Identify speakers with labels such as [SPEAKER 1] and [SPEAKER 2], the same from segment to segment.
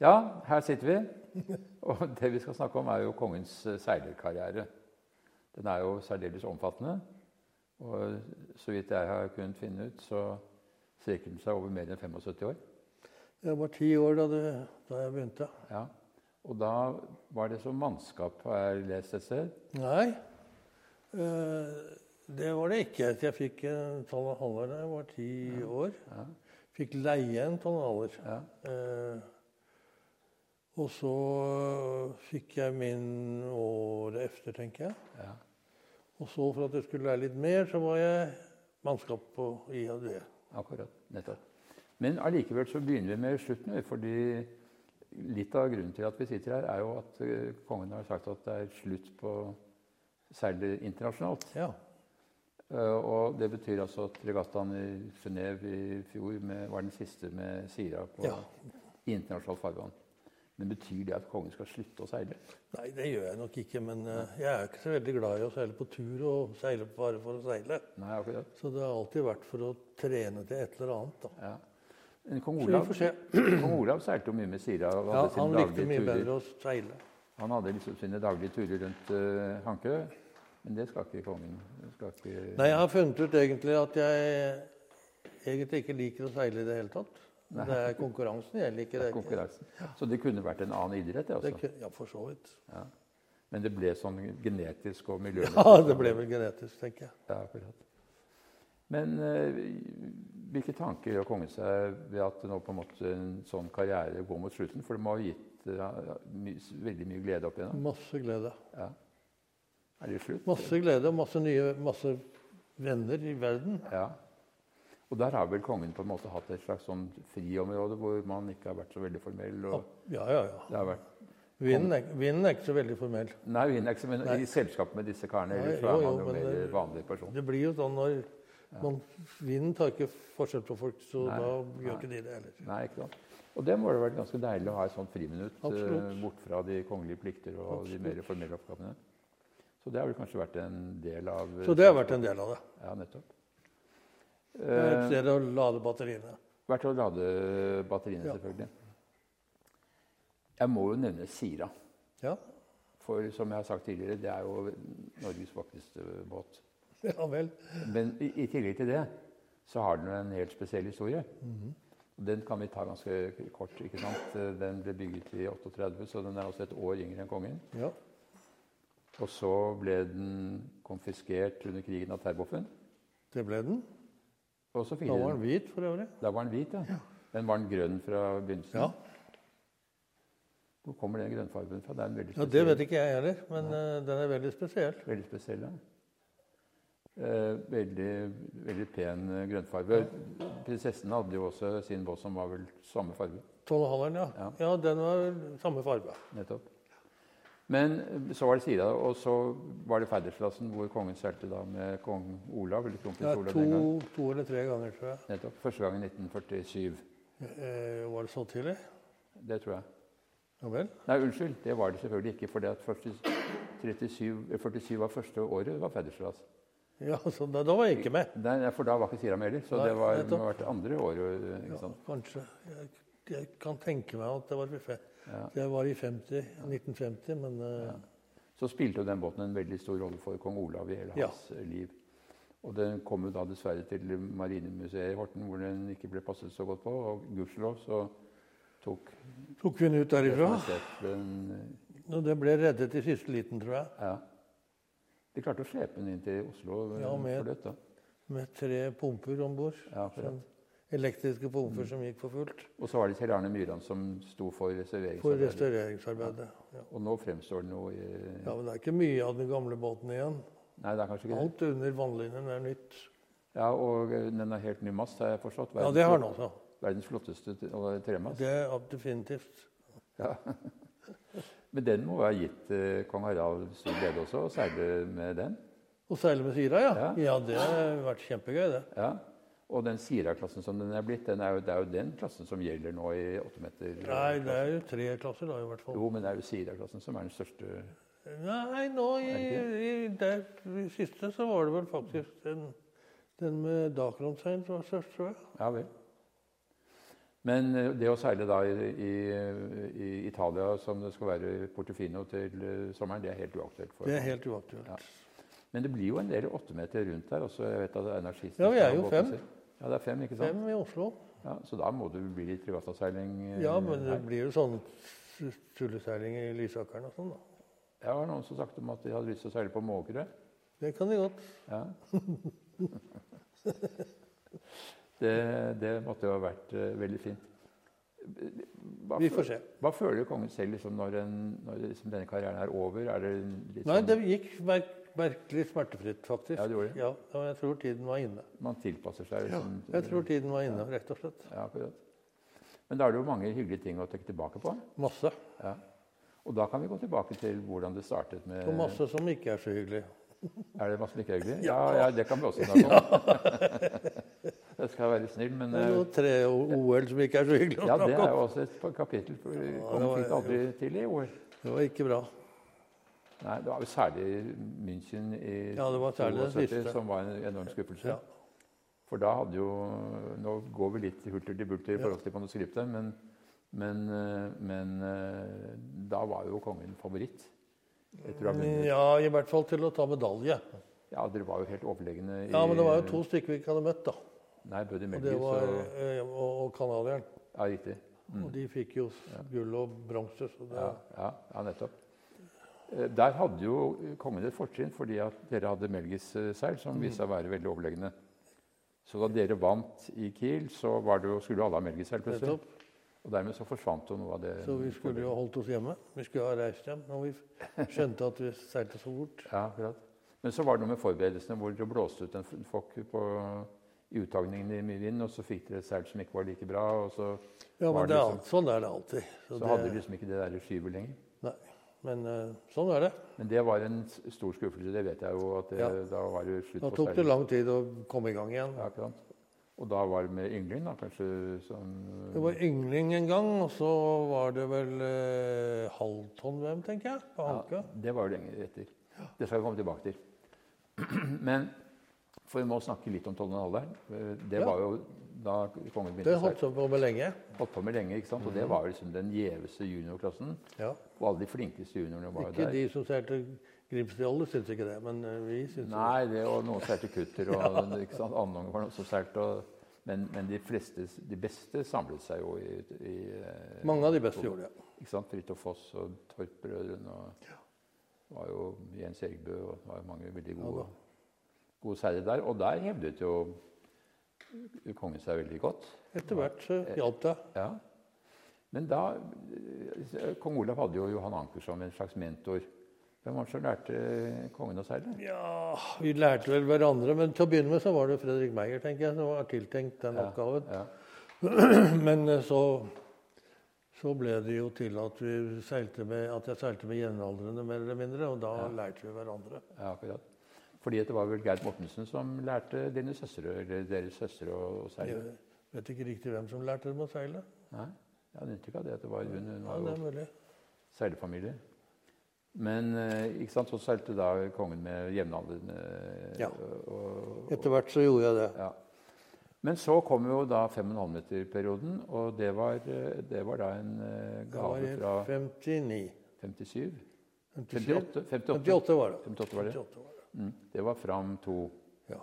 [SPEAKER 1] Ja, her sitter vi. Og det vi skal snakke om, er jo kongens eh, seilerkarriere. Den er jo særdeles omfattende. Og eh, så vidt jeg har kunnet finne ut, så strekker den seg over mer enn 75 år.
[SPEAKER 2] Jeg var ti år da, du, da jeg begynte.
[SPEAKER 1] Ja. Og da var det som mannskap, har jeg lest et sted.
[SPEAKER 2] Nei, eh, det var det ikke. Jeg fikk en tonnhaller da jeg var ti år.
[SPEAKER 1] Ja.
[SPEAKER 2] Fikk leie en tonnhaller.
[SPEAKER 1] Ja.
[SPEAKER 2] Eh, og så fikk jeg min året efter, tenker jeg.
[SPEAKER 1] Ja.
[SPEAKER 2] Og så for at jeg skulle lære litt mer, så var jeg mannskap på IAD.
[SPEAKER 1] Akkurat. Nettopp. Men allikevel så begynner vi med slutten, vi, fordi litt av grunnen til at vi sitter her, er jo at eh, kongen har sagt at det er slutt på seiler internasjonalt.
[SPEAKER 2] Ja.
[SPEAKER 1] Eh, Og det betyr altså at regattaen i Genéve i fjor med, var den siste med Sira på
[SPEAKER 2] ja.
[SPEAKER 1] i internasjonalt farvann. Men betyr det at kongen skal slutte å seile?
[SPEAKER 2] Nei, det gjør jeg nok ikke, men eh, jeg er ikke så veldig glad i å seile på tur og seile bare for å seile.
[SPEAKER 1] Nei, akkurat.
[SPEAKER 2] Så det har alltid vært for å trene til et eller annet. da.
[SPEAKER 1] Ja. Men Kong
[SPEAKER 2] Så vi
[SPEAKER 1] Olav,
[SPEAKER 2] får se.
[SPEAKER 1] Kong Olav seilte jo mye med Sira. og
[SPEAKER 2] Ja,
[SPEAKER 1] hadde sine
[SPEAKER 2] han likte
[SPEAKER 1] daglige
[SPEAKER 2] mye
[SPEAKER 1] turer.
[SPEAKER 2] bedre å seile.
[SPEAKER 1] Han hadde liksom sine daglige turer rundt eh, Hankø. Men det skal ikke kongen. Det skal ikke...
[SPEAKER 2] Nei, jeg har funnet ut egentlig at jeg egentlig ikke liker å seile i det hele tatt. Men Det er konkurransen jeg liker.
[SPEAKER 1] det er
[SPEAKER 2] ikke-
[SPEAKER 1] konkurransen. Så det kunne vært en annen idrett, det
[SPEAKER 2] Det
[SPEAKER 1] også.
[SPEAKER 2] er ikke- ja, for så vidt.
[SPEAKER 1] Men det ble sånn genetisk og miljømessig.
[SPEAKER 2] Ja, det ble vel genetisk, tenker jeg.
[SPEAKER 1] Ja, akkurat. Men eh, hvilke tanker gjør kongen seg ved at nå på en måte en sånn karriere går mot slutten? For det må ha gitt eh, my, veldig mye glede opp igjennom.
[SPEAKER 2] Masse glede.
[SPEAKER 1] Ja. Er det slutt?
[SPEAKER 2] Masse glede og masse nye masse venner i verden.
[SPEAKER 1] Ja. Og der har vel kongen på en måte hatt et slags sånn friområde hvor man ikke har vært så veldig formell. Og
[SPEAKER 2] Ja, ja, ja.
[SPEAKER 1] det har vært
[SPEAKER 2] Vinden er, vinden er ikke så veldig formell.
[SPEAKER 1] Nei, vi er ikke som en,
[SPEAKER 2] Nei.
[SPEAKER 1] i selskap med disse karene.
[SPEAKER 2] Nei,
[SPEAKER 1] Ellers så er
[SPEAKER 2] jo, jo,
[SPEAKER 1] man jo
[SPEAKER 2] men
[SPEAKER 1] mer
[SPEAKER 2] det-
[SPEAKER 1] vanlig person.
[SPEAKER 2] Det blir jo sånn når man, Vinden tar ikke forskjell på folk, så
[SPEAKER 1] Nei,
[SPEAKER 2] da
[SPEAKER 1] nei.
[SPEAKER 2] gjør ikke de det heller.
[SPEAKER 1] Nei, ikke sant? Og det må det ha vært ganske deilig å ha et sånt friminutt eh,
[SPEAKER 2] Absolutt.
[SPEAKER 1] bort fra de kongelige plikter og de mer formelle oppgavene. Så det har vel kanskje vært en del av
[SPEAKER 2] Så det har vært en del av det.
[SPEAKER 1] Ja, nettopp.
[SPEAKER 2] Det er
[SPEAKER 1] Eh,
[SPEAKER 2] Et sted å lade batteriene.
[SPEAKER 1] vært å lade batteriene,
[SPEAKER 2] Ja.
[SPEAKER 1] selvfølgelig. Jeg må jo nevne Sira.
[SPEAKER 2] Ja,
[SPEAKER 1] For som jeg har sagt tidligere, det er jo Norges vakreste båt.
[SPEAKER 2] ja vel.
[SPEAKER 1] Men i, i tillegg til det så har den jo en helt spesiell historie.
[SPEAKER 2] Mhm.
[SPEAKER 1] Og Den kan vi ta ganske kort. ikke sant? Den ble bygget i 38, så den er også et år yngre enn kongen.
[SPEAKER 2] Ja.
[SPEAKER 1] Og så ble den konfiskert under krigen av Terboven.
[SPEAKER 2] Det ble den.
[SPEAKER 1] Og så fikk
[SPEAKER 2] Da var
[SPEAKER 1] den,
[SPEAKER 2] den hvit for øvrig.
[SPEAKER 1] da var den hvit, ja. Men var den grønn fra begynnelsen?
[SPEAKER 2] Ja,
[SPEAKER 1] Hvor kommer den grønnfargen fra? Det er en veldig
[SPEAKER 2] ja
[SPEAKER 1] spesiell,
[SPEAKER 2] Det vet ikke jeg heller, men eh, den er veldig spesiell.
[SPEAKER 1] veldig spesiell ja. Eh, veldig, veldig pen eh, grønnfarge. Prinsessen hadde jo også sin båt som var vel samme farge.
[SPEAKER 2] Tolvhalleren, ja.
[SPEAKER 1] Ja.
[SPEAKER 2] Ja, den var samme farge.
[SPEAKER 1] Nettopp. Men eh, så var det Sira, og så var det Færdersplassen, hvor kongen seilte da med kong Olav. eller kronprins
[SPEAKER 2] Ja,
[SPEAKER 1] Olav
[SPEAKER 2] to,
[SPEAKER 1] den gangen.
[SPEAKER 2] to eller tre ganger, tror jeg.
[SPEAKER 1] Nettopp. Første gang i 1947.
[SPEAKER 2] Eh, var det så tidlig?
[SPEAKER 1] Det tror jeg.
[SPEAKER 2] Ja vel.
[SPEAKER 1] Nei, unnskyld, det var det selvfølgelig ikke. For det at første- 37, 47 var første året var Færdersplass.
[SPEAKER 2] Ja, så da, da var jeg ikke med.
[SPEAKER 1] Nei, nei, for da var ikke Sira med heller. Så
[SPEAKER 2] Nei,
[SPEAKER 1] det var, det
[SPEAKER 2] nettopp.
[SPEAKER 1] var det andre året. eh, ikke
[SPEAKER 2] Ja,
[SPEAKER 1] sant?
[SPEAKER 2] kanskje. Jeg, jeg kan tenke meg at det var, i fe-
[SPEAKER 1] Ja.
[SPEAKER 2] det var i 50, 1950, men eh,
[SPEAKER 1] Så spilte jo den båten en veldig stor rolle for kong Olav i hele
[SPEAKER 2] Ja.
[SPEAKER 1] hans eh, liv. Og den kom jo da dessverre til Marinemuseet i Horten, hvor den ikke ble passet så godt på. Og gudskjelov så tok
[SPEAKER 2] tok vi den ut derifra.
[SPEAKER 1] Universitetet den eh,
[SPEAKER 2] Og den ble reddet i siste liten, tror jeg,
[SPEAKER 1] Ja. De klarte å slepe den inn til Oslo eh,
[SPEAKER 2] Ja, med- sånn.
[SPEAKER 1] for dødt, da.
[SPEAKER 2] med tre pumper om bord.
[SPEAKER 1] Ja, akkurat.
[SPEAKER 2] Elektriske pumper som gikk for fullt.
[SPEAKER 1] Og så var det Kjell Arne Myran som sto for
[SPEAKER 2] For
[SPEAKER 1] restaureringsarbeidet.
[SPEAKER 2] restaureringsarbeidet. Ja.
[SPEAKER 1] Og nå fremstår den jo i
[SPEAKER 2] ja, Men det er ikke mye av den gamle båten igjen.
[SPEAKER 1] Nei, det er kanskje ikke det.
[SPEAKER 2] Alt under vannlinjen er nytt.
[SPEAKER 1] Ja, Og eh, den har helt ny mast, har jeg forstått.
[SPEAKER 2] Ja, det har den også.
[SPEAKER 1] verdens flotteste t- og tremast.
[SPEAKER 2] Det er definitivt.
[SPEAKER 1] Ja. Men den må ha gitt eh, kong Harald stor glede også, å seile med den.
[SPEAKER 2] Å seile med Sira, ja.
[SPEAKER 1] Ja.
[SPEAKER 2] Ja, det har vært kjempegøy, det.
[SPEAKER 1] Ja. Og den Sira-klassen som den er blitt, den er jo, det er jo den klassen som gjelder nå i åtte meter.
[SPEAKER 2] Nei, det er jo tre klasser da, i hvert fall.
[SPEAKER 1] Jo, men det er jo Sira-klassen som er den største
[SPEAKER 2] Nei, nå i, i det siste så var det vel faktisk den, den med Dakronsein som var størst, tror jeg.
[SPEAKER 1] Ja vel. Men eh, det å seile da i, i, i Italia som det skal være Portofino til eh, sommeren, det er helt uaktuelt. for
[SPEAKER 2] Det er helt uaktuelt.
[SPEAKER 1] Ja. Men det blir jo en del åttemeter rundt der også. Jeg vet at Einar Schisten
[SPEAKER 2] Ja, vi
[SPEAKER 1] skal
[SPEAKER 2] er
[SPEAKER 1] ha
[SPEAKER 2] jo
[SPEAKER 1] båten
[SPEAKER 2] fem.
[SPEAKER 1] sin. Ja, det er fem, ikke sant?
[SPEAKER 2] Fem i Oslo.
[SPEAKER 1] Ja, så da må det bli litt regattaseiling. eh,
[SPEAKER 2] Ja, men det
[SPEAKER 1] her.
[SPEAKER 2] blir jo sånn tulleseiling i Lysakeren og sånn, da.
[SPEAKER 1] Det var noen som snakket om at de hadde lyst til å seile på Måkerø.
[SPEAKER 2] Det kan de godt.
[SPEAKER 1] Ja. det, det måtte jo ha vært eh, veldig fint. Hva,
[SPEAKER 2] Vi
[SPEAKER 1] fø-
[SPEAKER 2] får se.
[SPEAKER 1] hva føler kongen selv liksom, når, en, når liksom, denne karrieren er over? Er det litt
[SPEAKER 2] Nei,
[SPEAKER 1] sånn,
[SPEAKER 2] det gikk merk merkelig smertefritt, faktisk.
[SPEAKER 1] Ja, det gjorde det.
[SPEAKER 2] Ja, ja, jeg tror tiden var inne.
[SPEAKER 1] Man tilpasser seg? Liksom,
[SPEAKER 2] Jeg tror tiden var inne, rett og slett.
[SPEAKER 1] Ja, akkurat. Men da er det jo mange hyggelige ting å tenke tilbake på.
[SPEAKER 2] Masse.
[SPEAKER 1] Ja. Og da kan vi gå tilbake til hvordan det startet med
[SPEAKER 2] Og masse som ikke er så hyggelig.
[SPEAKER 1] Er det masse like hyggelig? Ja. ja,
[SPEAKER 2] Ja.
[SPEAKER 1] det kan vi også snakke om. jeg skal være snill, men
[SPEAKER 2] Det er
[SPEAKER 1] eh,
[SPEAKER 2] noe tre-OL som ikke er så hyggelig å
[SPEAKER 1] Ja, det
[SPEAKER 2] snakke
[SPEAKER 1] er
[SPEAKER 2] om.
[SPEAKER 1] jo også et kapittel. for Vi
[SPEAKER 2] Ja,
[SPEAKER 1] kom
[SPEAKER 2] det var-
[SPEAKER 1] fint aldri til i år.
[SPEAKER 2] Det var ikke bra.
[SPEAKER 1] Nei, Det var jo særlig München i
[SPEAKER 2] Ja, det var særlig det
[SPEAKER 1] 72
[SPEAKER 2] siste.
[SPEAKER 1] som var en enorm skuffelse.
[SPEAKER 2] Ja.
[SPEAKER 1] For da hadde jo Nå går vi litt hulter til bulter i forhold til manuskriptet, men, men, eh, men eh, da var jo kongen favoritt. Etter å ha vunnet.
[SPEAKER 2] Mm, ja, i hvert fall til å ta medalje.
[SPEAKER 1] Ja, dere var jo helt overlegne i
[SPEAKER 2] Ja, men det var jo to stykker vi ikke hadde møtt, da.
[SPEAKER 1] Nei, Buddy
[SPEAKER 2] Og
[SPEAKER 1] Melby,
[SPEAKER 2] det var,
[SPEAKER 1] så
[SPEAKER 2] eh, og, og canadieren.
[SPEAKER 1] Ja, riktig. Mm.
[SPEAKER 2] Og de fikk jo gull og bronse. Så det,
[SPEAKER 1] Ja, ja, ja nettopp. Eh, Der hadde jo kongen et fortrinn fordi at dere hadde Melgis eh, seil, som
[SPEAKER 2] Mhm.
[SPEAKER 1] viste seg å være veldig overlegne. Så da dere vant i Kiel, så var det jo, skulle jo alle ha Melgis seil plutselig.
[SPEAKER 2] nettopp.
[SPEAKER 1] Og dermed så forsvant jo noe av det
[SPEAKER 2] Så vi skulle jo ha holdt oss hjemme. Vi skulle ha reist hjem når vi skjønte at vi seilte så fort.
[SPEAKER 1] Ja, akkurat. Men så var det noe med forberedelsene hvor dere blåste ut en f- fokk på i uttagningen i mye vind, og så fikk dere et seil som ikke var like bra, og så,
[SPEAKER 2] Ja,
[SPEAKER 1] Var
[SPEAKER 2] men det
[SPEAKER 1] det
[SPEAKER 2] er
[SPEAKER 1] sånn?
[SPEAKER 2] alt, sånn er det alltid.
[SPEAKER 1] så,
[SPEAKER 2] Så
[SPEAKER 1] hadde dere
[SPEAKER 2] det,
[SPEAKER 1] liksom ikke det der skyvet lenger.
[SPEAKER 2] nei. Men eh, sånn er det.
[SPEAKER 1] Men det var en s- stor skuffelse, det vet jeg jo. at det,
[SPEAKER 2] Ja.
[SPEAKER 1] Da var det jo slutt
[SPEAKER 2] Da
[SPEAKER 1] på
[SPEAKER 2] tok
[SPEAKER 1] seilen.
[SPEAKER 2] det lang tid å komme i gang igjen.
[SPEAKER 1] Ja, ikke sant? Og da var det med yngling, da, kanskje? Som,
[SPEAKER 2] Det var yngling en gang, og så var det vel eh, halvtonn-VM, tenker jeg. På Hanke.
[SPEAKER 1] ja, det var jo lenge etter. Det skal vi komme tilbake til. Men for vi må snakke litt om Tollendaleren. Det
[SPEAKER 2] Ja.
[SPEAKER 1] var jo da kongen begynte
[SPEAKER 2] Det
[SPEAKER 1] å
[SPEAKER 2] holdt Mm.
[SPEAKER 1] seile.
[SPEAKER 2] jeg på med lenge.
[SPEAKER 1] Holdt på med lenge, ikke sant? Og det var jo liksom den gjeveste juniorklassen.
[SPEAKER 2] Ja.
[SPEAKER 1] Og alle de flinkeste juniorene var jo
[SPEAKER 2] Ikke
[SPEAKER 1] der.
[SPEAKER 2] de som seilte Grimsdiolle, syns ikke det. Men eh, vi syns det.
[SPEAKER 1] Nei, det, og noen seilte kutter, og ikke sant? andre ganger var det noen som seilte. og- Men, men de fleste, de beste samlet seg jo i, i eh,
[SPEAKER 2] Mange av de beste gjorde det.
[SPEAKER 1] Ikke sant? Fridtjof Foss og Torp-brødrene og var jo Jens Egbø og det var jo mange veldig gode,
[SPEAKER 2] da.
[SPEAKER 1] gode seire der. Og der hevdet jo kongen seg veldig godt.
[SPEAKER 2] Etter hvert så hjalp det.
[SPEAKER 1] Ja. Men da eh, Kong Olav hadde jo Johan Anker som en slags mentor. Hvem var det som lærte kongen å seile?
[SPEAKER 2] Ja, Vi lærte vel hverandre, men til å begynne med så var det Fredrik Meyer tenker jeg, som var tiltenkt den
[SPEAKER 1] Ja,
[SPEAKER 2] oppgaven.
[SPEAKER 1] Ja.
[SPEAKER 2] Men eh, så, så ble det jo til at, vi seilte med, at jeg seilte med jevnaldrende, mer eller mindre. Og da lærte vi hverandre.
[SPEAKER 1] Ja, akkurat. Fordi at det var vel Gerd Mortensen som lærte dine søstre, eller deres søstre å å seile?
[SPEAKER 2] Jeg vet ikke riktig hvem som lærte dem å seile.
[SPEAKER 1] Nei? Jeg hadde inntrykk av det. at det var hun. Hun
[SPEAKER 2] Ja,
[SPEAKER 1] var jo
[SPEAKER 2] det er mulig.
[SPEAKER 1] seilefamilie. Men eh, ikke sant, så seilte da kongen med jevnaldrende. eh,
[SPEAKER 2] Ja.
[SPEAKER 1] Og, og,
[SPEAKER 2] Etter hvert så gjorde jeg det.
[SPEAKER 1] ja. Men så kom jo da 5,5-meterperioden, og det var, eh, det var da en eh,
[SPEAKER 2] Da var
[SPEAKER 1] gave
[SPEAKER 2] jeg
[SPEAKER 1] fra
[SPEAKER 2] 59.
[SPEAKER 1] 57?
[SPEAKER 2] 57?
[SPEAKER 1] 58? 58,
[SPEAKER 2] 58 var det.
[SPEAKER 1] 58 var det.
[SPEAKER 2] 58 var det.
[SPEAKER 1] Mm. Det var Fram 2,
[SPEAKER 2] Ja.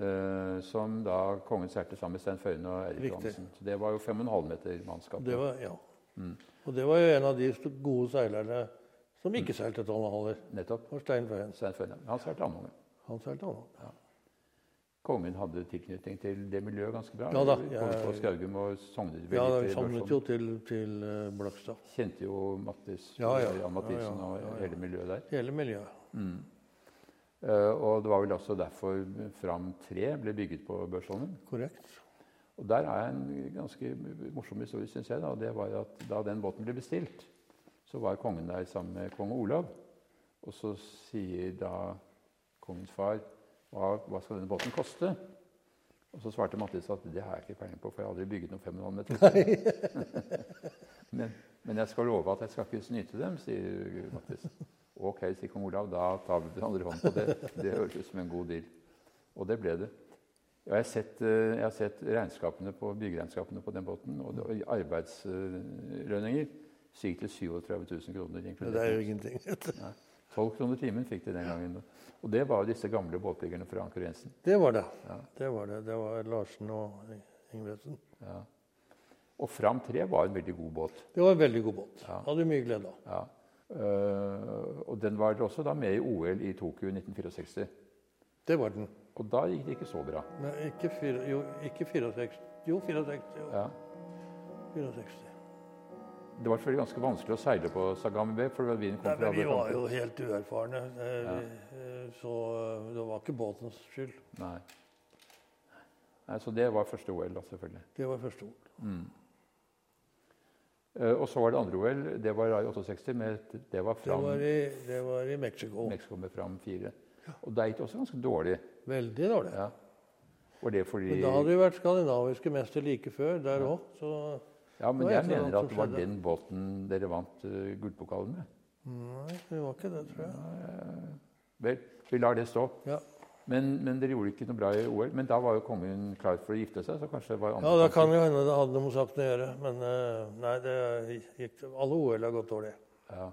[SPEAKER 1] eh, som da kongen seilte sammen med Stein Føyen og Eirik
[SPEAKER 2] Riktig.
[SPEAKER 1] Johansen. Så det var jo 5,5-meter-mannskap.
[SPEAKER 2] Det var, ja.
[SPEAKER 1] Mm.
[SPEAKER 2] Og det var jo en av de st- gode seilerne som
[SPEAKER 1] Mm.
[SPEAKER 2] ikke seilte tolvhaller.
[SPEAKER 1] Nettopp.
[SPEAKER 2] Det var Stein Føhens.
[SPEAKER 1] Stein Føyen. Han seilte andre omgang.
[SPEAKER 2] Han seilte han.
[SPEAKER 1] Kongen hadde tilknytning til det miljøet ganske bra.
[SPEAKER 2] Ja da,
[SPEAKER 1] Kongen
[SPEAKER 2] jeg-
[SPEAKER 1] på Skaugum og sognet veldig sånn.
[SPEAKER 2] Ja,
[SPEAKER 1] til
[SPEAKER 2] vi samlet
[SPEAKER 1] Børson.
[SPEAKER 2] jo til, til eh, Blakstad.
[SPEAKER 1] Kjente jo Mattis,
[SPEAKER 2] Ja, ja.
[SPEAKER 1] og Jan Mathisen
[SPEAKER 2] Ja, ja, ja, ja.
[SPEAKER 1] og hele miljøet der. Mm.
[SPEAKER 2] Hele miljøet.
[SPEAKER 1] Eh, og det var vel også derfor Fram 3 ble bygget på Børsholmen.
[SPEAKER 2] Korrekt.
[SPEAKER 1] Og der er en ganske morsom historie, syns jeg. Da. og Det var jo at da den båten ble bestilt, så var kongen der sammen med kong Olav. Og så sier da kongens far hva, hva skal denne båten koste? Og så svarte Mattis at det har jeg ikke peiling på, for jeg har aldri bygget noen 5,5 meter. men, men jeg skal love at jeg skal ikke snyte dem, sier Mattis. Ok, sier kong Olav, da tar vi den andre hånden på det. Det høres ut som en god deal. Og det ble det. Ja, jeg har sett, eh, jeg har sett regnskapene på, byggeregnskapene på den båten, og det- og arbeidslønninger. stiger til 37 000 kroner.
[SPEAKER 2] Men det er jo
[SPEAKER 1] inkludert.
[SPEAKER 2] ingenting.
[SPEAKER 1] 12 kroner timen fikk de den gangen. Og det var jo disse gamle båtbyggerne fra Anker Jensen.
[SPEAKER 2] Det var det.
[SPEAKER 1] Ja.
[SPEAKER 2] Det var det. Det var Larsen og Ingebretsen.
[SPEAKER 1] Ja. Og Fram 3 var en veldig god båt.
[SPEAKER 2] Det var en veldig god båt.
[SPEAKER 1] Ja.
[SPEAKER 2] Hadde mye glede av.
[SPEAKER 1] Ja. Eh, og den var også da med i OL i Tokyo i 1964.
[SPEAKER 2] Det var den.
[SPEAKER 1] Og da gikk det ikke så bra.
[SPEAKER 2] Men ikke, fire, jo, ikke 64. Jo, 64. Jo,
[SPEAKER 1] Ja.
[SPEAKER 2] 64.
[SPEAKER 1] Det var selvfølgelig ganske vanskelig å seile på Sagami Bay. for vinden kom
[SPEAKER 2] Nei,
[SPEAKER 1] fra
[SPEAKER 2] men vi
[SPEAKER 1] alle
[SPEAKER 2] var
[SPEAKER 1] kanter.
[SPEAKER 2] jo helt uerfarne, eh, eh, så eh, det var ikke båtens skyld.
[SPEAKER 1] Nei. Nei, Så det var første OL, da, selvfølgelig. Mm.
[SPEAKER 2] Det var første ord.
[SPEAKER 1] Eh, og så var det andre OL. Det var da i 68. Med, det var
[SPEAKER 2] Det
[SPEAKER 1] Fram
[SPEAKER 2] var i, det var i Mexico.
[SPEAKER 1] Mexico med Fram 4. Og der gikk det også ganske dårlig.
[SPEAKER 2] Veldig dårlig.
[SPEAKER 1] Ja. Var det fordi
[SPEAKER 2] Men da hadde vi vært skandinaviske mester like før, der òg. Så
[SPEAKER 1] Ja, men
[SPEAKER 2] Nå er
[SPEAKER 1] jeg
[SPEAKER 2] det noe
[SPEAKER 1] mener
[SPEAKER 2] annet
[SPEAKER 1] at det
[SPEAKER 2] som
[SPEAKER 1] var
[SPEAKER 2] skjedde.
[SPEAKER 1] den båten dere vant uh, gullpokalen med.
[SPEAKER 2] nei, det var ikke det, tror jeg.
[SPEAKER 1] Vel, vi lar det stå.
[SPEAKER 2] Ja,
[SPEAKER 1] Men, men dere gjorde ikke noe bra i OL. Men da var jo kongen klar for å gifte seg, så kanskje det var
[SPEAKER 2] ja
[SPEAKER 1] andre
[SPEAKER 2] da
[SPEAKER 1] tanker.
[SPEAKER 2] kan jo hende det hadde noe med saken å gjøre. Men eh, nei, det gikk Alle OL har gått dårlig.
[SPEAKER 1] Ja.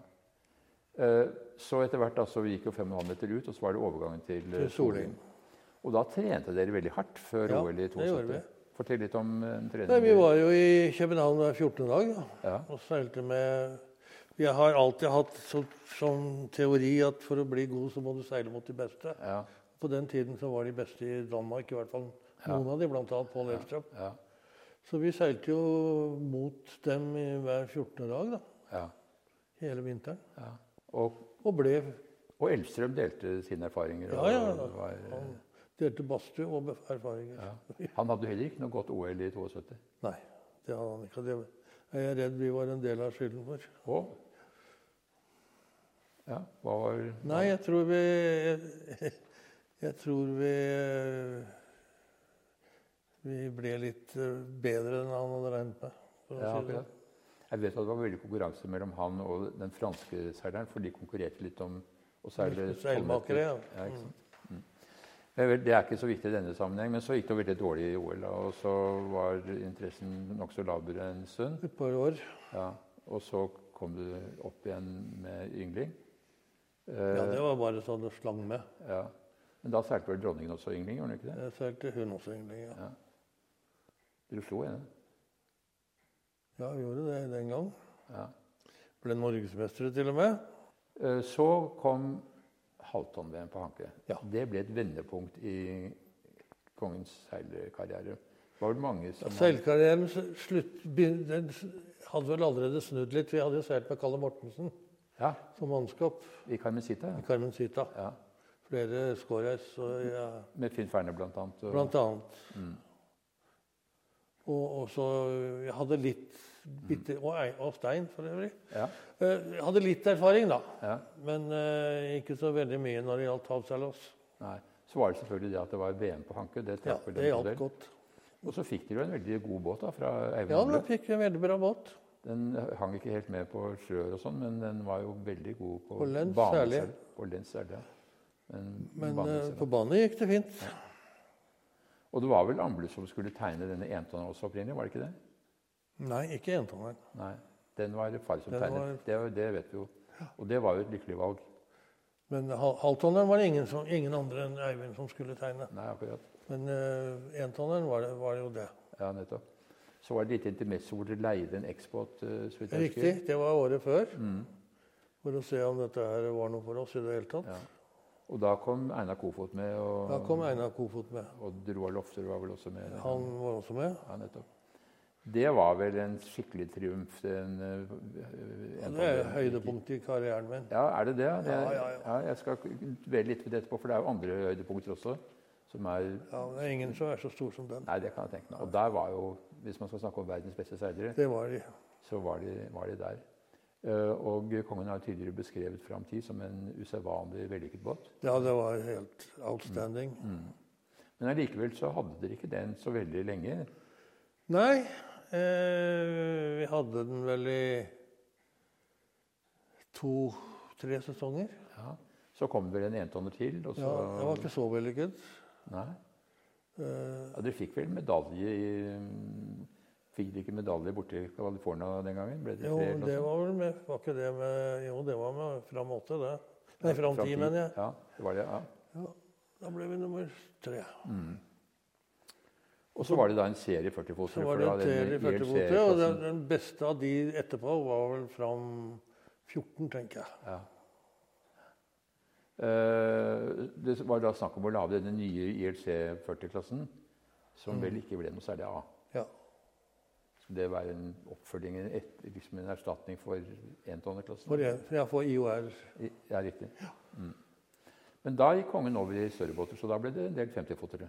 [SPEAKER 1] Eh, Så etter hvert da, så gikk jo 5,5 meter ut, og så var det overgangen til eh,
[SPEAKER 2] Til Solheim.
[SPEAKER 1] Og da trente dere veldig hardt før
[SPEAKER 2] Ja,
[SPEAKER 1] OL i
[SPEAKER 2] det gjorde
[SPEAKER 1] 72. Fortell litt om eh, en trening.
[SPEAKER 2] Nei, vi var jo i København hver 14. dag. da.
[SPEAKER 1] Ja,
[SPEAKER 2] Og seilte med Jeg har alltid hatt så, som teori at for å bli god, så må du seile mot de beste.
[SPEAKER 1] ja,
[SPEAKER 2] På den tiden så var de beste i Danmark, i hvert fall noen av de, blant annet Pål Elstrup.
[SPEAKER 1] ja,
[SPEAKER 2] Så vi seilte jo mot dem i hver 14. dag, da.
[SPEAKER 1] ja,
[SPEAKER 2] Hele vinteren.
[SPEAKER 1] ja. Og,
[SPEAKER 2] Og ble
[SPEAKER 1] og Elstrøm delte sine erfaringer.
[SPEAKER 2] Ja,
[SPEAKER 1] og
[SPEAKER 2] ja.
[SPEAKER 1] det var, eh,
[SPEAKER 2] Han delte badstue og be- erfaringer.
[SPEAKER 1] ja. Han hadde jo heller ikke noe godt OL i 72.
[SPEAKER 2] Nei, det hadde han ikke. Det er jeg redd vi var en del av skylden for.
[SPEAKER 1] Og ja, hva var
[SPEAKER 2] Nei, jeg tror vi Jeg, jeg tror vi Vi ble litt eh, bedre enn han hadde regnet med. for
[SPEAKER 1] ja,
[SPEAKER 2] å si det sånn.
[SPEAKER 1] akkurat. Jeg vet at det var veldig konkurranse mellom han og den franske seileren, for de konkurrerte litt om å seile
[SPEAKER 2] Litt seilmakere, ja. Mm.
[SPEAKER 1] ja ikke sant? Mm. Men vel, Det er ikke så viktig i denne sammenheng, men så gikk det veldig dårlig i OL. da, Og så var interessen nokså laber en stund.
[SPEAKER 2] Et par år.
[SPEAKER 1] Ja. Og så kom du opp igjen med yngling.
[SPEAKER 2] Ja,
[SPEAKER 1] Eh,
[SPEAKER 2] det var bare sånn det slang med.
[SPEAKER 1] ja. Men da seilte vel dronningen også yngling? gjorde hun ikke det?
[SPEAKER 2] Jeg seilte hun også, egentlig. Ja.
[SPEAKER 1] Dere slo henne?
[SPEAKER 2] ja, vi gjorde det den gang.
[SPEAKER 1] Ja.
[SPEAKER 2] Ble norgesmestere, til og med.
[SPEAKER 1] Eh, Så kom Halvton-VM på Hanke.
[SPEAKER 2] Ja.
[SPEAKER 1] Det ble et vendepunkt i kongens seilerkarriere. Det var vel mange som
[SPEAKER 2] Seilkarrieren s- slutt, begyn- den s- hadde vel allerede snudd litt. Vi hadde jo seilt med Kalle Mortensen
[SPEAKER 1] Ja,
[SPEAKER 2] som mannskap.
[SPEAKER 1] i Carmencita.
[SPEAKER 2] i Carmencita.
[SPEAKER 1] Ja.
[SPEAKER 2] Flere scoreis. Og jeg
[SPEAKER 1] Med Finn Ferner, blant annet. og- Mm.
[SPEAKER 2] Blant annet. Og, og så Jeg hadde litt bitte, og, ei- og stein, for øvrig.
[SPEAKER 1] Ja,
[SPEAKER 2] Eh, Jeg hadde litt erfaring, da.
[SPEAKER 1] ja.
[SPEAKER 2] Men eh, ikke så veldig mye når det gjaldt havseilas.
[SPEAKER 1] Nei. Så var det selvfølgelig det at det var VM på Hanke. Det
[SPEAKER 2] Ja,
[SPEAKER 1] trakk vel en
[SPEAKER 2] det hjalp
[SPEAKER 1] del.
[SPEAKER 2] godt.
[SPEAKER 1] Og så fikk dere jo en veldig god båt da, fra Eivind
[SPEAKER 2] Ja, da
[SPEAKER 1] Humble.
[SPEAKER 2] fikk vi en veldig bra båt.
[SPEAKER 1] Den hang ikke helt med på sjøer og sånn, men den var jo veldig god på,
[SPEAKER 2] På lens
[SPEAKER 1] baneseil.
[SPEAKER 2] særlig.
[SPEAKER 1] På lens særlig, ja. Men,
[SPEAKER 2] Men eh,
[SPEAKER 1] baneseil, ja.
[SPEAKER 2] på bane gikk det fint.
[SPEAKER 1] Og det var vel Amble som skulle tegne denne entonna også opprinnelig, var det ikke det?
[SPEAKER 2] Nei, ikke entonneren.
[SPEAKER 1] Nei, den var det far som
[SPEAKER 2] Den
[SPEAKER 1] tegnet. Det, det vet vi jo. Og det var jo et lykkelig valg.
[SPEAKER 2] Men hal- halvtonneren var det ingen, som, ingen andre enn Eivind som skulle tegne.
[SPEAKER 1] Nei, akkurat.
[SPEAKER 2] Men eh, entonneren var det, var det jo det.
[SPEAKER 1] Ja, nettopp. Så var det et lite intermezzo hvor dere leide en X-båt. eh, så vidt jeg husker. Mm,
[SPEAKER 2] Riktig. Det var året før. For å se om dette her var noe for oss i det hele tatt.
[SPEAKER 1] Ja. Og da kom Einar Kofot med, og,
[SPEAKER 2] Da kom Einar Kofot med.
[SPEAKER 1] og Roar Lofter var vel også med.
[SPEAKER 2] Han var også med.
[SPEAKER 1] Ja, nettopp. Det var vel en skikkelig triumf. Den, eh,
[SPEAKER 2] Det er
[SPEAKER 1] entonna.
[SPEAKER 2] høydepunktet i karrieren min.
[SPEAKER 1] Ja, er det det? ja? Det,
[SPEAKER 2] Ja, ja, ja.
[SPEAKER 1] Jeg skal dvele litt ved det etterpå, for det er jo andre høydepunkter også. Som er
[SPEAKER 2] Ja, det er ingen som er så stor som den.
[SPEAKER 1] Nei, det kan jeg tenke meg. Og der var jo, hvis man skal snakke om verdens beste seilere,
[SPEAKER 2] Det var de.
[SPEAKER 1] så var de, var de der. Eh, Og kongen har tidligere beskrevet Fram 10 som en usedvanlig vellykket båt. Mm.
[SPEAKER 2] Ja, det var helt outstanding.
[SPEAKER 1] Men allikevel så hadde dere ikke den så veldig lenge.
[SPEAKER 2] Nei, eh, vi hadde den vel i to-tre sesonger.
[SPEAKER 1] Ja. Så kom det vel en entonner til, og så
[SPEAKER 2] Ja, det var ikke så vellykket.
[SPEAKER 1] Nei.
[SPEAKER 2] Eh,
[SPEAKER 1] Ja, dere fikk vel medalje i mm, Fikk de ikke medalje borti California den gangen? Ble det
[SPEAKER 2] Jo,
[SPEAKER 1] tre eller noe
[SPEAKER 2] det
[SPEAKER 1] sånt?
[SPEAKER 2] var vel med Var ikke det med Jo, det var med fram åtte, det. Nei, fram
[SPEAKER 1] Fra
[SPEAKER 2] ti,
[SPEAKER 1] ti.
[SPEAKER 2] mener jeg.
[SPEAKER 1] Ja, det var det, ja. Mm.
[SPEAKER 2] Ja, da ble vi nummer tre.
[SPEAKER 1] Og så var det da en serie 40-fotere.
[SPEAKER 2] Så var det en serie i første kvote, og den, den beste av de etterpå var vel fram 14, tenker jeg.
[SPEAKER 1] Ja. Eh, Det var da snakk om å lage denne nye ILC 40-klassen, som vel ikke ble noe særlig av.
[SPEAKER 2] Mm. Ja.
[SPEAKER 1] Skulle det være en oppfølging, en et, liksom en erstatning for entonneklassen?
[SPEAKER 2] For jeg, for jeg får IOR.
[SPEAKER 1] I- Ja, riktig. Mm. Men da gikk kongen over i større båter, så da ble det en del 50-fotere.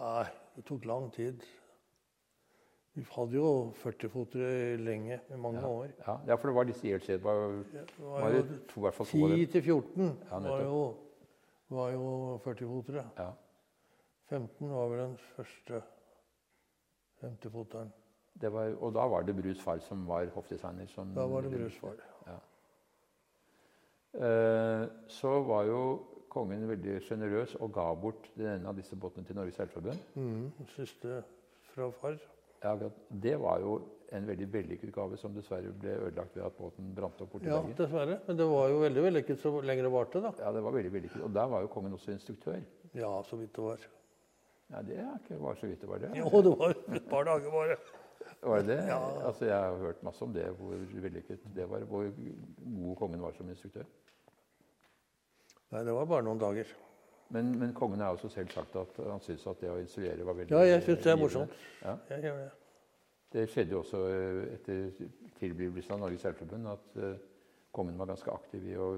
[SPEAKER 2] Nei, det tok lang tid. Vi hadde jo 40-fotere lenge, i mange år.
[SPEAKER 1] Ja, ja, for det var disse ILC, det var,
[SPEAKER 2] Det
[SPEAKER 1] var
[SPEAKER 2] var
[SPEAKER 1] jo
[SPEAKER 2] jo
[SPEAKER 1] to, i hvert fall to av
[SPEAKER 2] 10
[SPEAKER 1] dem.
[SPEAKER 2] til 14
[SPEAKER 1] Ja, nettopp.
[SPEAKER 2] var jo, var jo 40-fotere.
[SPEAKER 1] Ja.
[SPEAKER 2] 15 var vel den første 50-foteren.
[SPEAKER 1] Det var, og da var det Brus far som var hoffdesigner. Som,
[SPEAKER 2] Da var det Brus far.
[SPEAKER 1] Eh, så var jo kongen veldig sjenerøs og ga bort den ene av disse båtene til Norges Seilforbund.
[SPEAKER 2] Mhm, Siste fra far.
[SPEAKER 1] Ja, akkurat. det var jo en veldig vellykket gave som dessverre ble ødelagt ved at båten brant opp borti
[SPEAKER 2] Ja,
[SPEAKER 1] Bergen.
[SPEAKER 2] dessverre. Men det var jo veldig vellykket så lenge det varte, da.
[SPEAKER 1] Ja, det var veldig vellykket. Og der var jo kongen også instruktør.
[SPEAKER 2] Ja, så vidt det var.
[SPEAKER 1] Ja, det er ikke var så vidt det var det.
[SPEAKER 2] Jo, det var et par dager bare.
[SPEAKER 1] Var det det?
[SPEAKER 2] Ja.
[SPEAKER 1] Altså, jeg har hørt masse om det, hvor vellykket det var. Hvor god kongen var som instruktør.
[SPEAKER 2] Nei, det var bare noen dager.
[SPEAKER 1] Men, men kongen har også selv sagt at han syntes at det å instruere var veldig
[SPEAKER 2] Ja, jeg syns det er
[SPEAKER 1] givende.
[SPEAKER 2] morsomt.
[SPEAKER 1] Ja.
[SPEAKER 2] Jeg gjør det.
[SPEAKER 1] Det skjedde jo også eh, etter tilblivelsen av Norges Seilforbund at eh, kongen var ganske aktiv i å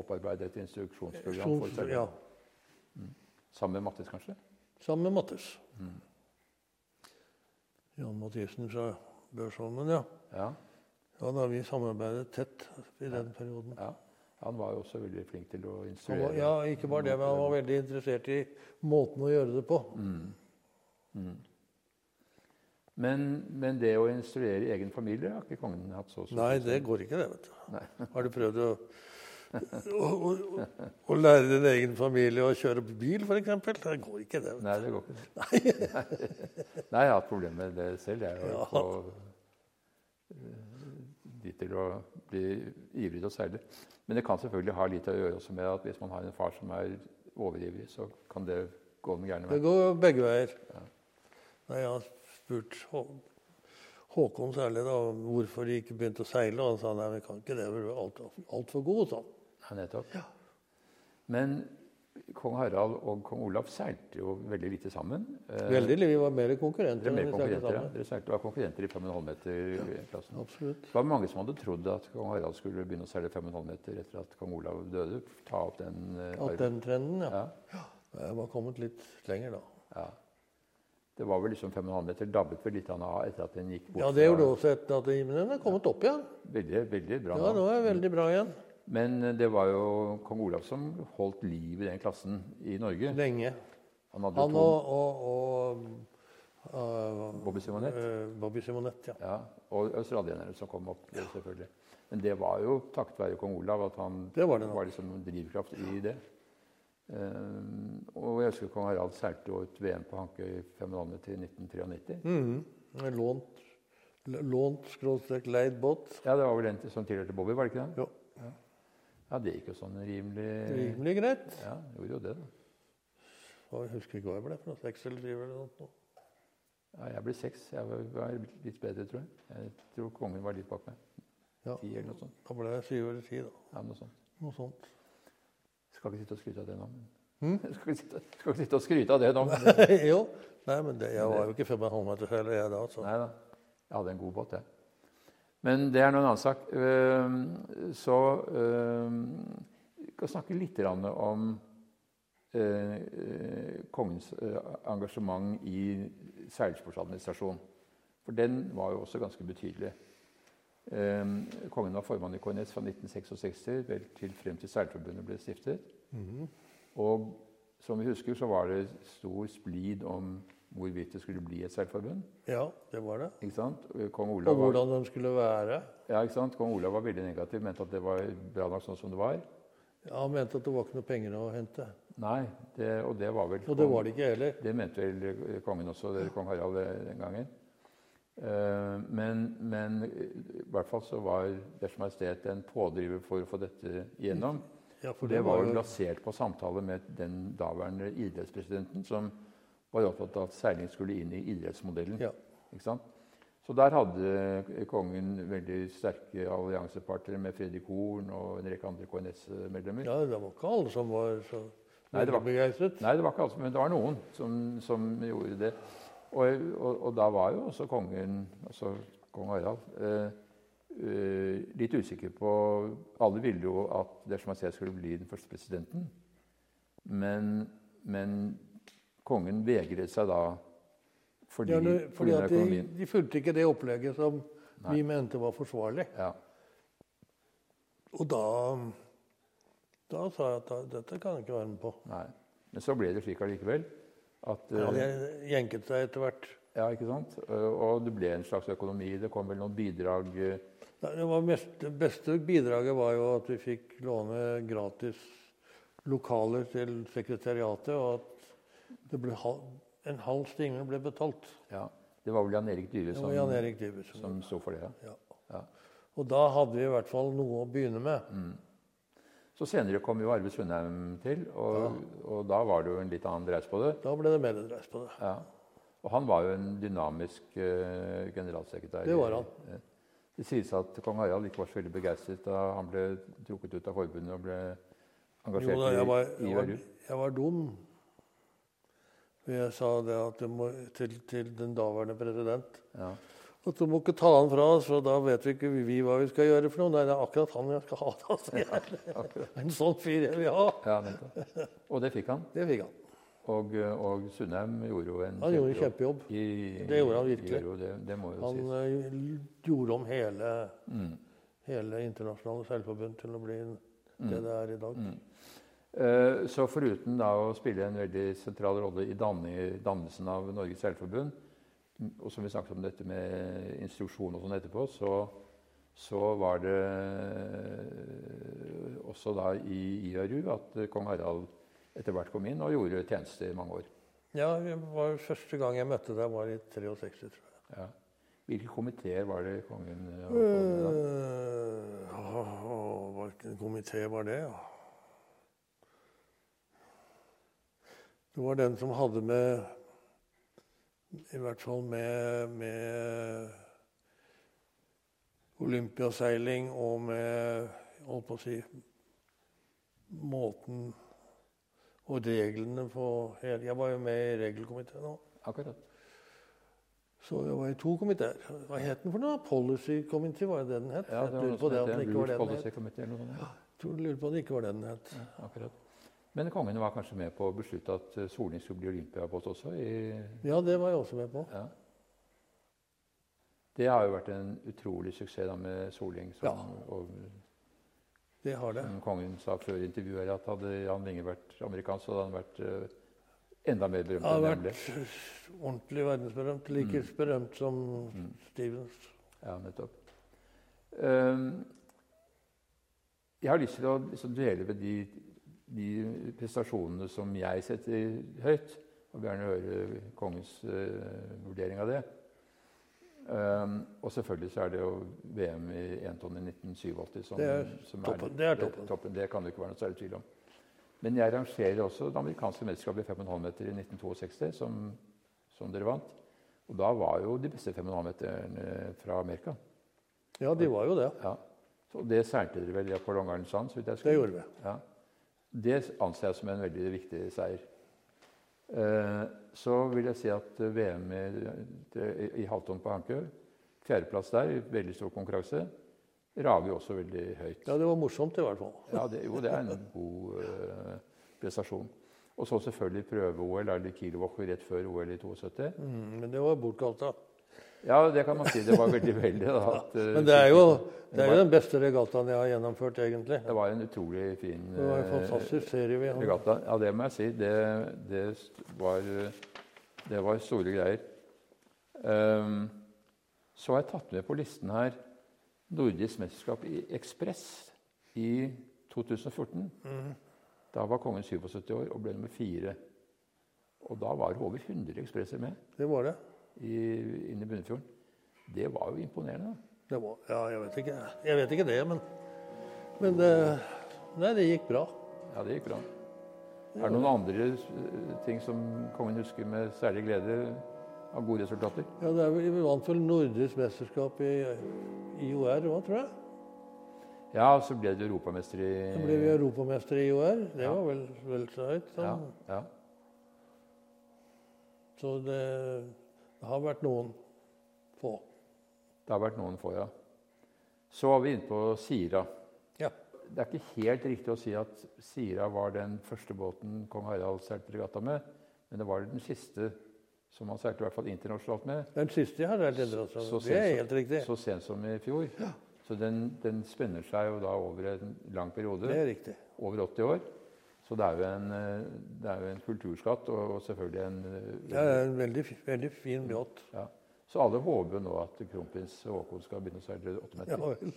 [SPEAKER 1] opparbeide et instruksjonsprogram for
[SPEAKER 2] Stor- Ja.
[SPEAKER 1] seilerne. Sammen med Mattis, kanskje?
[SPEAKER 2] Sammen med Mattes. Jan Mathisen fra Børsholmen, ja.
[SPEAKER 1] Ja,
[SPEAKER 2] Ja, da har vi samarbeidet tett i den perioden.
[SPEAKER 1] ja. Han var jo også veldig flink til å
[SPEAKER 2] Han
[SPEAKER 1] instruere.
[SPEAKER 2] var, ja, ikke bare det, men han var veldig interessert i måten å gjøre det på.
[SPEAKER 1] Mm. men, men det å instruere egen familie har ikke kongen hatt så stor
[SPEAKER 2] Nei, det går ikke, det, vet du.
[SPEAKER 1] Nei.
[SPEAKER 2] Har du prøvd å, å, å, å lære din egen familie å kjøre bil, f.eks.? Det går ikke, det. vet du.
[SPEAKER 1] Nei, det går ikke. Nei, Nei jeg har hatt problemer med det selv. Jeg har
[SPEAKER 2] Ja.
[SPEAKER 1] på de til å bli ivrig til å seile. Men det kan selvfølgelig ha litt å gjøre også med at hvis man har en far som er overivrig, så kan det gå den gærne
[SPEAKER 2] Det
[SPEAKER 1] veien.
[SPEAKER 2] går begge veier. Nei, jeg har spurt Hå- Håkon særlig da, om hvorfor de ikke begynte å seile. Og han sa nei, vi kan ikke det, vi er altfor alt altfor gode. Sånn.
[SPEAKER 1] Ja, nettopp. Men kong Harald og kong Olav seilte jo veldig lite sammen. Eh,
[SPEAKER 2] Veldig, vi var mer
[SPEAKER 1] Dere
[SPEAKER 2] konkurrenter
[SPEAKER 1] er mer
[SPEAKER 2] enn vi seilte
[SPEAKER 1] konkurrenter, ja.
[SPEAKER 2] sammen.
[SPEAKER 1] Dere seilte var konkurrenter i 5,5 meter-klassen.
[SPEAKER 2] Absolutt.
[SPEAKER 1] Det var mange som hadde trodd at kong Harald skulle begynne å seile 5,5 meter etter at kong Olav døde. Ta opp den eh,
[SPEAKER 2] At
[SPEAKER 1] arven.
[SPEAKER 2] den trenden, ja.
[SPEAKER 1] Ja,
[SPEAKER 2] Jeg var kommet litt lenger da.
[SPEAKER 1] ja. Det var vel liksom 5,5 meter dabbet vel litt han av etter at den gikk bort.
[SPEAKER 2] Ja, det
[SPEAKER 1] fra-
[SPEAKER 2] gjorde også et at men den er kommet opp igjen.
[SPEAKER 1] Veldig, veldig bra.
[SPEAKER 2] Ja, nå
[SPEAKER 1] navn.
[SPEAKER 2] er jeg veldig bra igjen.
[SPEAKER 1] Men eh, det var jo kong Olav som holdt liv i den klassen i Norge.
[SPEAKER 2] Lenge.
[SPEAKER 1] Han hadde
[SPEAKER 2] Han
[SPEAKER 1] jo
[SPEAKER 2] og, og, og øh,
[SPEAKER 1] to Bobby Simonett.
[SPEAKER 2] øh, Bobby Simonett, ja.
[SPEAKER 1] Ja, og australienere som kom opp, selvfølgelig. Men det var jo takket være kong Olav at han
[SPEAKER 2] Det var det nok.
[SPEAKER 1] var liksom en drivkraft i det. Ehm, og jeg husker kong Harald seilte jo et VM på Hankøy 5,5 meter i 1993.
[SPEAKER 2] Mhm. Lånt, lånt skråstrek leid båt.
[SPEAKER 1] Ja, det var vel den til- som tilhørte Bobby, var det ikke det?
[SPEAKER 2] Jo.
[SPEAKER 1] Ja, det gikk jo sånn rimelig
[SPEAKER 2] Rimelig greit.
[SPEAKER 1] Ja, det gjorde jo det, da.
[SPEAKER 2] Og Jeg husker ikke hva jeg ble for noe. Seks eller syv eller noe. sånt.
[SPEAKER 1] Ja, jeg ble seks. Jeg var, var litt bedre, tror jeg. Jeg tror kongen var litt bak meg.
[SPEAKER 2] Ja.
[SPEAKER 1] Ti eller noe sånt.
[SPEAKER 2] Da ble jeg syv eller ti, da.
[SPEAKER 1] Ja, noe sånt.
[SPEAKER 2] Noe sånt.
[SPEAKER 1] Skal ikke sitte og skryte av det nå. Men... Skal, ikke sitte, skal ikke sitte og skryte av det nå. Men...
[SPEAKER 2] jo. Nei, men det, jeg var jo ikke fem og en halv meter selv, jeg da. altså. Så.
[SPEAKER 1] Nei da. Jeg hadde en god båt, jeg. Men det er nå en annen sak. Ehm, Så ehm, Vi skal snakke litt grann om eh, eh, kongens eh, engasjement i seilsportsadministrasjon. For den var jo også ganske betydelig. Ehm, Kongen var formann i KNS fra 1966 vel til frem til Seilforbundet ble stiftet.
[SPEAKER 2] Mhm.
[SPEAKER 1] Og som vi husker, så var det stor splid om hvorvidt det skulle bli et seilforbund.
[SPEAKER 2] Ja, det var det.
[SPEAKER 1] Ikke sant? Eh, Kong
[SPEAKER 2] Og
[SPEAKER 1] Olav, var,
[SPEAKER 2] hvordan den skulle være.
[SPEAKER 1] ja, ikke sant? Kong Olav var veldig negativ, mente at det var bra nok sånn som det var.
[SPEAKER 2] Ja, Han mente at det var ikke noe penger å hente.
[SPEAKER 1] Nei, det, og det var vel
[SPEAKER 2] Og det var det ikke heller.
[SPEAKER 1] Det mente vel kongen også, eller kong Harald eh, den eh, gangen. Eh, Men, men i hvert fall så var Deres Majestet en pådriver for å få dette igjennom.
[SPEAKER 2] Ja,
[SPEAKER 1] For det var jo basert på samtaler med den daværende idrettspresidenten, som var opptatt av at seiling skulle inn i idrettsmodellen.
[SPEAKER 2] Ja.
[SPEAKER 1] Ikke sant? Så der hadde kongen veldig sterke alliansepartnere med Fredrik Horn og en rekke andre KNS-medlemmer.
[SPEAKER 2] Ja, det var ikke alle som var så
[SPEAKER 1] Nei, det var-
[SPEAKER 2] begeistret.
[SPEAKER 1] Nei, det var ikke alle, som- men det var noen som, som gjorde det. Og, og, og da var jo også kongen, altså kong Harald, eh, eh, litt usikker på Alle ville jo at dersom han selv skulle bli den første presidenten. Men, men kongen vegret seg da fordi,
[SPEAKER 2] Ja, det,
[SPEAKER 1] på
[SPEAKER 2] fordi
[SPEAKER 1] grunn av
[SPEAKER 2] at de,
[SPEAKER 1] økonomien.
[SPEAKER 2] de fulgte ikke det opplegget som
[SPEAKER 1] Nei.
[SPEAKER 2] vi mente var forsvarlig.
[SPEAKER 1] Ja.
[SPEAKER 2] Og da, da sa jeg at da, dette kan jeg ikke være med på.
[SPEAKER 1] Nei. Men så ble det slik allikevel. At,
[SPEAKER 2] Ja,
[SPEAKER 1] eh,
[SPEAKER 2] de jenket seg etter hvert.
[SPEAKER 1] ja, ikke sant? Eh, Og det ble en slags økonomi. Det kom vel noen bidrag eh,
[SPEAKER 2] Nei, Det, var mest, det beste bidraget var jo at vi fikk låne gratis lokaler til sekretariatet, og at det ble hal, en halv stime ble betalt.
[SPEAKER 1] ja. Det var vel Jan Erik Dyhre
[SPEAKER 2] Det
[SPEAKER 1] som,
[SPEAKER 2] var Jan Erik Dybe som
[SPEAKER 1] som sto for det. Ja.
[SPEAKER 2] ja.
[SPEAKER 1] Ja.
[SPEAKER 2] Og da hadde vi i hvert fall noe å begynne med.
[SPEAKER 1] Mm. Så senere kom jo Arve Sundheim til, og, og da var det jo en litt annen dreis på det.
[SPEAKER 2] Da ble det mer dreis på det.
[SPEAKER 1] Ja. Og han var jo en dynamisk eh, generalsekretær.
[SPEAKER 2] Det var han.
[SPEAKER 1] Eh, Det sies at kong Harald ikke var så veldig begeistret da han ble trukket ut av forbundet og ble engasjert
[SPEAKER 2] Jo da, jeg var,
[SPEAKER 1] i
[SPEAKER 2] jeg var,
[SPEAKER 1] VRU.
[SPEAKER 2] jeg var dum. For Jeg sa det at du må, til, til den daværende president
[SPEAKER 1] Ja.
[SPEAKER 2] at du må ikke ta han fra oss, for da vet vi ikke vi hva vi skal gjøre. for noe. Nei, det er akkurat han jeg skal ha. Da, sier jeg. En sånn fyr jeg vil ha.
[SPEAKER 1] Ja, nettopp. og det fikk han.
[SPEAKER 2] Det fikk han.
[SPEAKER 1] Og, eh, og Sundheim gjorde jo en
[SPEAKER 2] Han gjorde en kjempejobb.
[SPEAKER 1] I-
[SPEAKER 2] Det gjorde han virkelig.
[SPEAKER 1] gjorde jo det, det må jo
[SPEAKER 2] Han
[SPEAKER 1] sies.
[SPEAKER 2] eh, gjorde om hele,
[SPEAKER 1] Mm.
[SPEAKER 2] hele Internasjonale Seilforbund til å bli
[SPEAKER 1] Mm.
[SPEAKER 2] det det er i dag.
[SPEAKER 1] Eh, Så foruten da å spille en veldig sentral rolle i danne- dannelsen av Norges Seilforbund, m, og som vi snakket om dette med instruksjon og sånn etterpå, så, så var det eh, også da i IRU at eh, kong Harald etter hvert kom inn og gjorde tjeneste i mange år.
[SPEAKER 2] Ja, det var Første gang jeg møtte deg, var i 63, tror jeg.
[SPEAKER 1] Ja. Hvilke komiteer var det kongen eh, holdt på med da?
[SPEAKER 2] Øh, åh, åh, Hvilken komité var det, ja? Det var den som hadde med I hvert fall med, med olympiaseiling og med jeg holdt på å si måten og reglene på hele Jeg var jo med i regelkomiteen òg.
[SPEAKER 1] Akkurat.
[SPEAKER 2] Så jeg var i to komiteer. Hva het den for noe? Policy Committee, var det det den het?
[SPEAKER 1] Ja,
[SPEAKER 2] jeg
[SPEAKER 1] det var
[SPEAKER 2] lurer
[SPEAKER 1] noe som het
[SPEAKER 2] på det at den
[SPEAKER 1] en
[SPEAKER 2] ikke
[SPEAKER 1] Rules
[SPEAKER 2] var det den het.
[SPEAKER 1] Policy Committee eller noe sånt.
[SPEAKER 2] Tror du lurer på at den ikke var det den het.
[SPEAKER 1] Akkurat. Men kongen var kanskje med på å beslutte at eh, Solning skulle bli olympiapost også i
[SPEAKER 2] Ja, det var jeg også med på.
[SPEAKER 1] Ja. Det har jo vært en utrolig suksess da med Soling, som, og,
[SPEAKER 2] Det har det.
[SPEAKER 1] som kongen sa før intervjuet her, at hadde Jan Winge vært amerikansk, så hadde han vært eh, enda mer berømt
[SPEAKER 2] Jeg har
[SPEAKER 1] enn han
[SPEAKER 2] vært
[SPEAKER 1] ble.
[SPEAKER 2] ordentlig verdensberømt. Like berømt som
[SPEAKER 1] Mm.
[SPEAKER 2] Stevens.
[SPEAKER 1] Ja, nettopp. Ehm, jeg har lyst til å liksom dvele ved de, de prestasjonene som jeg setter høyt, og vil gjerne høre kongens eh, vurdering av det. Ehm, og selvfølgelig så er det jo VM i entonn i 1987 som,
[SPEAKER 2] Det er
[SPEAKER 1] som
[SPEAKER 2] toppen. Det er toppen.
[SPEAKER 1] Det kan det ikke være noe særlig tvil om. Men jeg rangerer også det amerikanske mesterskapet i 5,5 meter i 1962, som, som dere vant. Og da var jo de beste 5,5-meterne fra Amerika.
[SPEAKER 2] Ja, de var jo det.
[SPEAKER 1] Ja. Så det seilte dere vel på Longarden Sand? så vidt jeg husker.
[SPEAKER 2] Det gjorde vi.
[SPEAKER 1] Ja. Det anser jeg som en veldig viktig seier. Eh, Så vil jeg si at eh, VM i, det- i halvtonn på Hankø, fjerdeplass der, veldig stor konkurranse, rager jo også veldig høyt.
[SPEAKER 2] Ja, det var morsomt i hvert fall.
[SPEAKER 1] Ja, det, jo, det er en god eh, prestasjon. Og så selvfølgelig prøve-OL, eller Kielwalker rett før OL i 72.
[SPEAKER 2] Mm, men det var bortkasta.
[SPEAKER 1] Ja, det kan man si. Det var veldig veldig. Da, at, eh,
[SPEAKER 2] Men det er jo, det er
[SPEAKER 1] var-
[SPEAKER 2] jo den beste regattaen jeg har gjennomført, egentlig.
[SPEAKER 1] Det var en utrolig fin
[SPEAKER 2] Det var en
[SPEAKER 1] eh,
[SPEAKER 2] fantastisk serie vi hadde.
[SPEAKER 1] regatta. Ja, det må jeg si. Det, det, st- var, det var store greier. Ehm, så har jeg tatt med på listen her nordisk mesterskap i ekspress i 2014.
[SPEAKER 2] Mm,
[SPEAKER 1] Da var kongen 77 år og ble nummer fire. Og da var over 100 ekspresser med
[SPEAKER 2] Det var det.
[SPEAKER 1] i, inne i Bunnefjorden. Det var jo imponerende.
[SPEAKER 2] Det var, ja, jeg vet ikke, jeg vet ikke det, men, men det, nei, det gikk bra.
[SPEAKER 1] Ja, det gikk bra. Er det noen andre eh, ting som kongen husker med særlig glede av gode resultater?
[SPEAKER 2] Ja, det er vel, Vi vant vel nordisk mesterskap i IOR òg, tror jeg.
[SPEAKER 1] Ja, så ble du europamester i
[SPEAKER 2] Da ble vi europamestere i IOR. Det
[SPEAKER 1] Eh. Ja.
[SPEAKER 2] var vel, vel så høyt. Sånn.
[SPEAKER 1] ja, ja.
[SPEAKER 2] Så det, det har vært noen få.
[SPEAKER 1] Det har vært noen få, ja. Så var vi inne på Sira.
[SPEAKER 2] Ja.
[SPEAKER 1] Det er ikke helt riktig å si at Sira var den første båten kong Harald seilte regatta med, men det var den siste som han seilte i hvert fall internasjonalt med,
[SPEAKER 2] Den siste jeg har vært endret
[SPEAKER 1] Så- så
[SPEAKER 2] Det er
[SPEAKER 1] sent
[SPEAKER 2] helt riktig.
[SPEAKER 1] så sent som i fjor. Så den, den spenner seg jo da over en lang periode.
[SPEAKER 2] Det er riktig.
[SPEAKER 1] over 80 år. Så det er jo en, eh, det er jo en kulturskatt, og og selvfølgelig en eh,
[SPEAKER 2] Det er en veldig, fi- veldig fin båt.
[SPEAKER 1] ja. Så alle håper jo nå at kronprins Haakon skal begynne å seile åtte meter.
[SPEAKER 2] Ja, vel.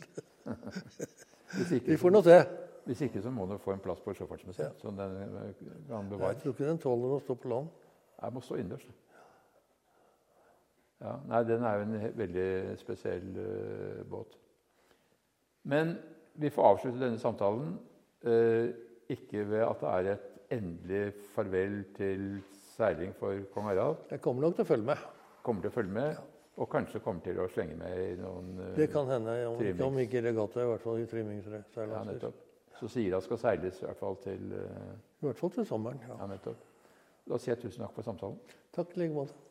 [SPEAKER 1] Hvis
[SPEAKER 2] vi
[SPEAKER 1] ikke,
[SPEAKER 2] får nå se.
[SPEAKER 1] så- hvis ikke så må den få en plass på Sjøfartsmuseet, så den eh, kan
[SPEAKER 2] Jeg
[SPEAKER 1] bevares.
[SPEAKER 2] tror ikke den tåler å stå på land.
[SPEAKER 1] Jeg må stå innendørs. da. Ja, nei, den er jo en he- veldig spesiell eh, båt. Men vi får avslutte denne samtalen eh, ikke ved at det er et endelig farvel til seiling for kong Harald.
[SPEAKER 2] Jeg kommer nok til å følge med.
[SPEAKER 1] Kommer til å følge med, og kanskje kommer til å slenge med i noen eh,
[SPEAKER 2] Det kan hende. Om,
[SPEAKER 1] Trimmings.
[SPEAKER 2] om ikke i regatta, i hvert fall i
[SPEAKER 1] ja,
[SPEAKER 2] trimmingsseilaser.
[SPEAKER 1] nettopp. Så Sira skal seiles i hvert fall til eh,
[SPEAKER 2] I hvert fall til sommeren. ja.
[SPEAKER 1] Ja, nettopp. Da sier jeg tusen takk for samtalen.
[SPEAKER 2] Takk i like måte.